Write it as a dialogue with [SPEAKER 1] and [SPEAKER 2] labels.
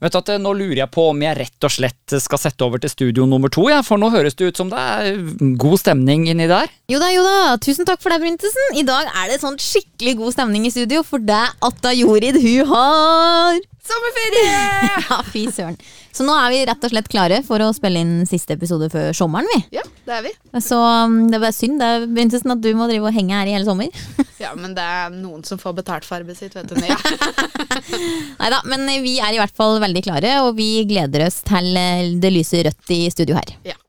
[SPEAKER 1] Vet du at eh, Nå lurer jeg på om jeg rett og slett skal sette over til studio nummer to, ja, for nå høres det ut som det er god stemning inni der.
[SPEAKER 2] Jo da, jo da. Tusen takk for deg, Brintesen. I dag er det sånn skikkelig god stemning i studio, for det er Atta Jorid hun har
[SPEAKER 3] Sommerferie!
[SPEAKER 2] Ja, fy søren. Så nå er vi rett og slett klare for å spille inn siste episode før sommeren, vi.
[SPEAKER 3] Ja, det er vi.
[SPEAKER 2] Så um, det er bare synd, det er Brintesen, at du må drive og henge her i hele sommer.
[SPEAKER 3] Ja, men det er noen som får betalt for arbeidet sitt, vet du. Mia.
[SPEAKER 2] Nei da, men vi er i hvert fall veldig klare, og vi gleder oss til eh, det lyser rødt i studio her.
[SPEAKER 3] Ja.